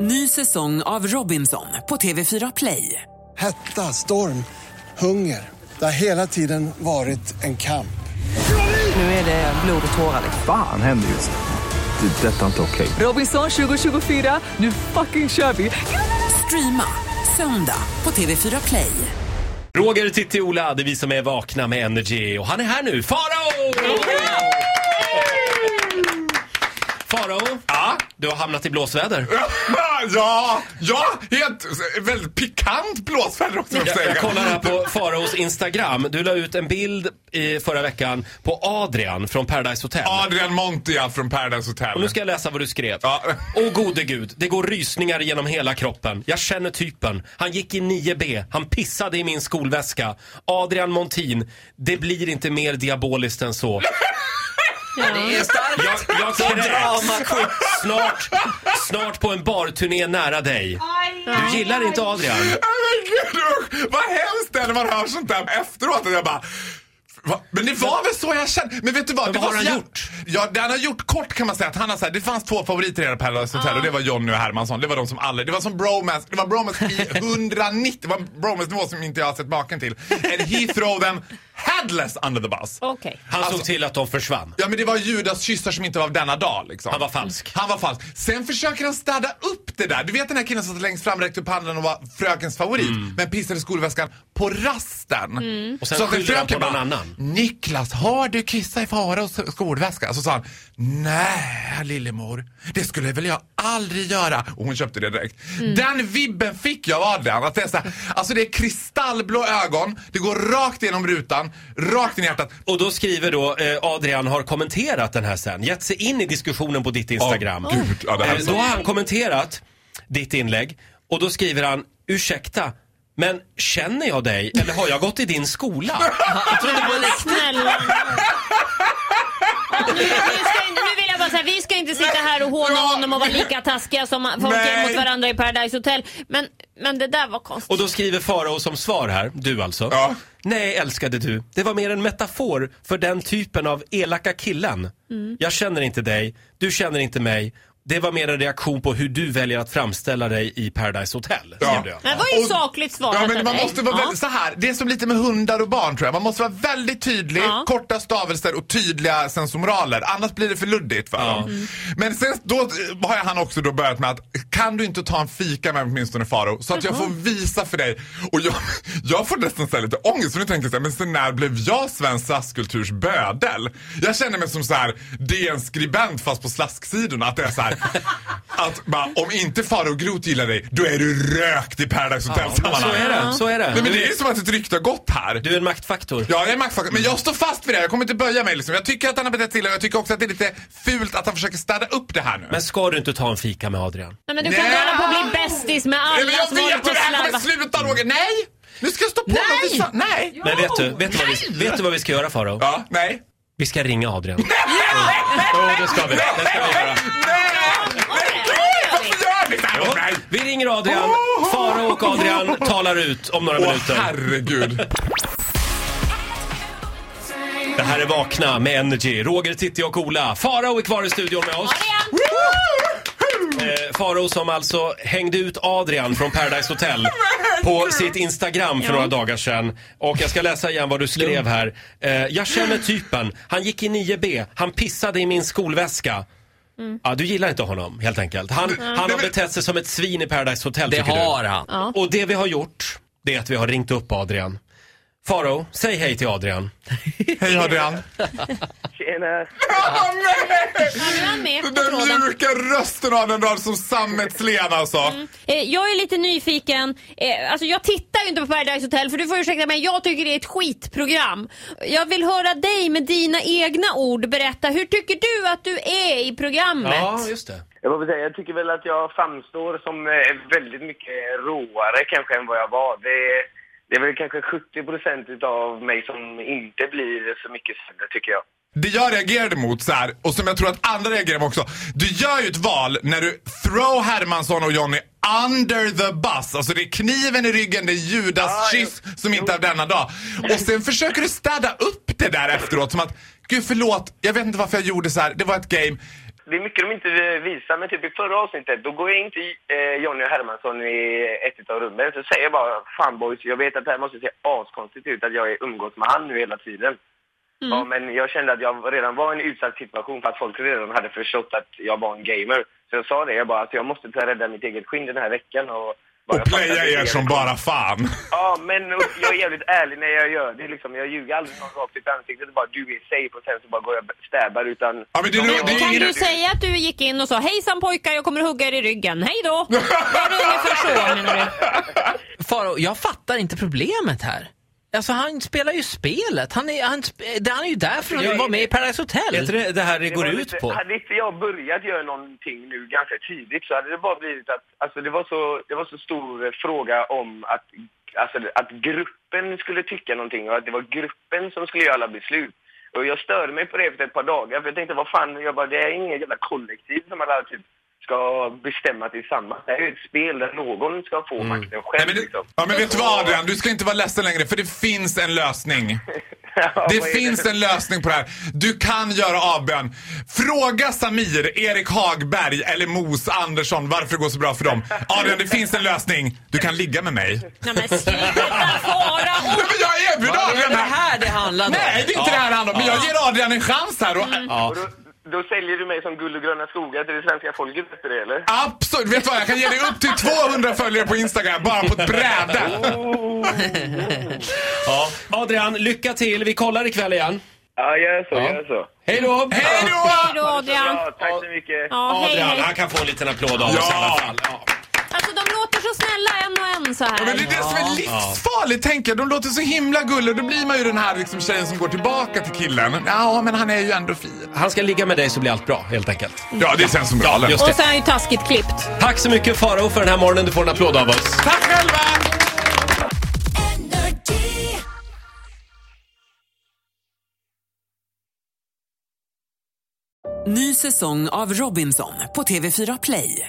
Ny säsong av Robinson på TV4 Play. Hetta, storm, hunger. Det har hela tiden varit en kamp. Nu är det blod och tårar. Fan händer just nu. Det. är Detta är inte okej. Robinson 2024, nu fucking kör vi! Streama söndag på TV4 Play. Roger, Titti, Ola, det är vi som är vakna med Energy. Och han är här nu, Farao! Farao, ja? du har hamnat i blåsväder. Ja, ja, helt väldigt pikant blåsväder också. måste Jag, säga. jag kollar här på Faraos Instagram. Du la ut en bild i förra veckan på Adrian från Paradise Hotel. Adrian Montia från Paradise Hotel. Och nu ska jag läsa vad du skrev. Ja. Åh gode gud, det går rysningar genom hela kroppen. Jag känner typen. Han gick i 9B, han pissade i min skolväska. Adrian Montin, det blir inte mer diaboliskt än så. Jag, jag kräks. Snart, snart på en barturné nära dig. Du gillar inte Adrian? Nej, men gud, usch, vad hemskt det är när man hör sånt där efteråt. Och jag bara, va? Men det var väl så jag kände. Men vet du vad? Men det vad var har så han jä- gjort? Ja, det han har gjort kort kan man säga att han har så här, det fanns två favoriter i hela Paradise Hotel och det var Jonny och Hermansson. Det var de som aldrig, det var som bromance, det var bromance i 190, det var en bromance-nivå som inte jag har sett maken till. And he throw them headless under the bus. Okej. Han såg Alltså- till att de försvann. Ja men det var Judas kyssar som inte var av denna dag liksom. Han var falsk. Han var falsk. Sen försöker han städa upp det där. Du vet den här killen som satt längst fram, räckte upp handen och var frökens favorit. Men pissade skolväskan på rasten. Mm. Och sen Så att skyller han fröken på någon bara, annan. Niklas, har du kissat i Faraos skolväska? Så sa han, nej lillemor, det skulle väl jag aldrig göra. Och hon köpte det direkt. Mm. Den vibben fick jag av den. Att det är så här, alltså det är kristallblå ögon, det går rakt genom rutan, rakt in i hjärtat. Och då skriver då eh, Adrian har kommenterat den här sen, gett sig in i diskussionen på ditt Instagram. Åh, gud. Ja, det här är Eh, så- då har han kommenterat ditt inlägg och då skriver han ursäkta men känner jag dig eller har jag gått i din skola? Jag trodde på riktigt. Snälla. Nu, nu, ska, nu vill jag bara säga, vi ska inte sitta här och håna Ja. honom och vara lika taskiga som folk är Nej. mot varandra i Paradise Hotel. Men, men det där var konstigt. Och då skriver Farao som svar här, du alltså. Ja. Nej älskade du, det var mer en metafor för den typen av elaka killen. Mm. Jag känner inte dig, du känner inte mig. Det var mer en reaktion på hur du väljer att framställa dig i Paradise Hotel. Ja. skrev du. Men det var ju Och- sakligt svarat Ja, av men man dig. måste vara Ja. väldigt, så här, det är som lite med hundar och barn tror jag. Man måste vara väldigt tydlig, Ja. korta stavelser och tydliga sensomoraler. Annars blir det för luddigt för dem. Men sen då eh, har jag han också då börjat med att kan du inte ta en fika med mig åtminstone Faro så att jag får visa för dig. Och jag, jag får nästan så här lite ångest för nu tänker jag så här, men sen när blev jag svensk slaskkulturs bödel? Jag känner mig som så här, det är en skribent fast på slasksidorna. Att det är så här, att bara, om inte Faro Groth gillar dig, då är du rökt i Paradise Hotel-sammanhang. Så är det, så är det. Nej, men det Du- är ju som att ett rykte har gått här. Du är en maktfaktor. Ja, jag är Max Factor, men jag står fast vid det här. Jag kommer inte böja mig. Liksom. Jag tycker att han har betett sig illa och jag tycker också att det är lite fult att han försöker städa upp det här nu. Men ska du inte ta en fika med Adrian? Nej, men du kan Nej. inte hålla på och bli bästis med alla Nej, men jag som håller vet på hur och det här slarvar. kommer sluta Roger! Nej! Nu ska jag stå på Nej. något visa- Nej! Men vet du, vet du, vad, vi, vet du vad vi ska göra Farao? Ja, nej. Vi ska ringa Adrian. Jo, det ska vi. Det ska vi göra. Varför gör ni det här mot mig? Vi ringer Adrian. Farao och Adrian talar ut om några Åh minuter. herregud. Det här är Vakna med Energy. Roger, Titti och Ola. Farao är kvar i studion med oss. Adrian! Eh, Farao som alltså hängde ut Adrian från Paradise Hotel på sitt Instagram för några dagar sedan. Och jag ska läsa igen vad du skrev här. Eh, jag känner typen. Han gick i 9B. Han pissade i min skolväska. Ja, du gillar inte honom helt enkelt. Han, han har betett sig som ett svin i Paradise Hotel Det tycker har du. han. Och det vi har gjort, det är att vi har ringt upp Adrian. Farao, säg hej till Adrian. Hej Adrian. Tjena! Ah, nej! Ja, nu är han med på tråden. Den mjuka rösten av den rad som sammetslen alltså. Eh, jag är lite nyfiken. Eh, alltså jag tittar ju inte på Paradise Hotel för du får ursäkta mig, jag tycker det är ett skitprogram. Jag vill höra dig med dina egna ord berätta, hur tycker du att du är i programmet? Ja, just det. Jag, får säga, jag tycker väl att jag framstår som eh, väldigt mycket råare kanske än vad jag var. Det, det är väl kanske 70 procent av mig som inte blir så mycket sämre tycker jag. Det jag reagerade mot, så här, och som jag tror att andra reagerar mot också. Du gör ju ett val när du throw Hermansson och Johnny under the bus. Alltså det är kniven i ryggen, det är Judas Ah, kyss jo. som inte är av denna dag. Och sen försöker du städa upp det där efteråt som att, gud förlåt, jag vet inte varför jag gjorde så här. det var ett game. det är mycket de inte visar, men typ i förra avsnittet då går jag in till eh, Jonny och Hermansson i ett utav rummen och säger jag bara Fan boys, jag vet att det här måste se askonstigt ut att jag är umgås med han nu hela tiden. Mm. Ja, men jag kände att jag redan var i en utsatt situation för att folk redan hade förstått att jag var en gamer. Så jag sa det, jag bara alltså, jag måste ta rädda mitt eget skinn den här veckan och... bara, Och jag fattar playa inte er det. som bara fan. Ja, men och jag är jävligt ärlig när jag gör det. Liksom, jag ljuger aldrig någon rakt ut i ansiktet. och Bara du är safe och sen så bara går jag och stäbar utan... Ja, men det är nog- det är Kan ingen- du säga att du gick in och sa hejsan pojkar, jag kommer hugga er i ryggen, hej då? Var det ungefär så menar du? Faro, jag fattar inte problemet här. Alltså han spelar ju spelet. Han är, han, sp- han är ju där för att Jag- vara med i Paradise Är inte Hotel. det det här det går var ut lite, på? Hade inte jag börjat göra någonting nu ganska tidigt så hade det bara blivit att... Alltså det var så, det var så stor eh, fråga om att, alltså, att gruppen skulle tycka någonting och att det var gruppen som skulle göra alla beslut. Och jag störde mig på det efter ett par dagar för jag tänkte vad fan, jag bara det är inget jävla kollektiv som alla typ ska bestämma tillsammans. Det här är ju ett spel där någon ska få makten själv Mm. Nej, men, det- liksom. ja, men vet du vad Adrian? Du ska inte vara ledsen längre för det finns en lösning. Ja, Det vad är finns en lösning på det här. Du kan göra avbön. Fråga Samir, Erik Hagberg eller Mos Andersson varför det går så bra för dem. Adrian, det finns en lösning. Du kan ligga med mig. Nej men sluta Nej, Farao! men jag erbjuder Det är Adrian det här. här det handlar om. Nej, det är inte det här det handlar om. Men jag ger Adrian en chans här. Och, Och då, då säljer du mig som guld och gröna skogar till det svenska folket efter det eller? Absolut. Vet du vad? Jag kan ge dig upp till 200 följare på Instagram bara på ett bräde. Ja. Adrian, lycka till. Vi kollar ikväll igen. Ja, gör så, gör så. Hej då! Hej då! Hej då Adrian. Ja, tack så mycket. Ja, hej, Adrian, hej. han kan få en liten applåd av oss i alla Ja! fall. Alltså de låter så snälla en och en så Ja, Men det här. är det som är livsfarligt, tänker jag. De låter så himla gulliga. Då blir man ju den här liksom, tjejen som går tillbaka till killen. Ja, men han är ju ändå fin. Han ska ligga med dig så blir allt bra, helt enkelt. Ja, det känns som galen. Just Och det. så är han ju taskigt klippt. Tack så mycket Farao för den här morgonen. Du får en applåd av oss. Tack själva! Ny säsong av Robinson på TV4 Play.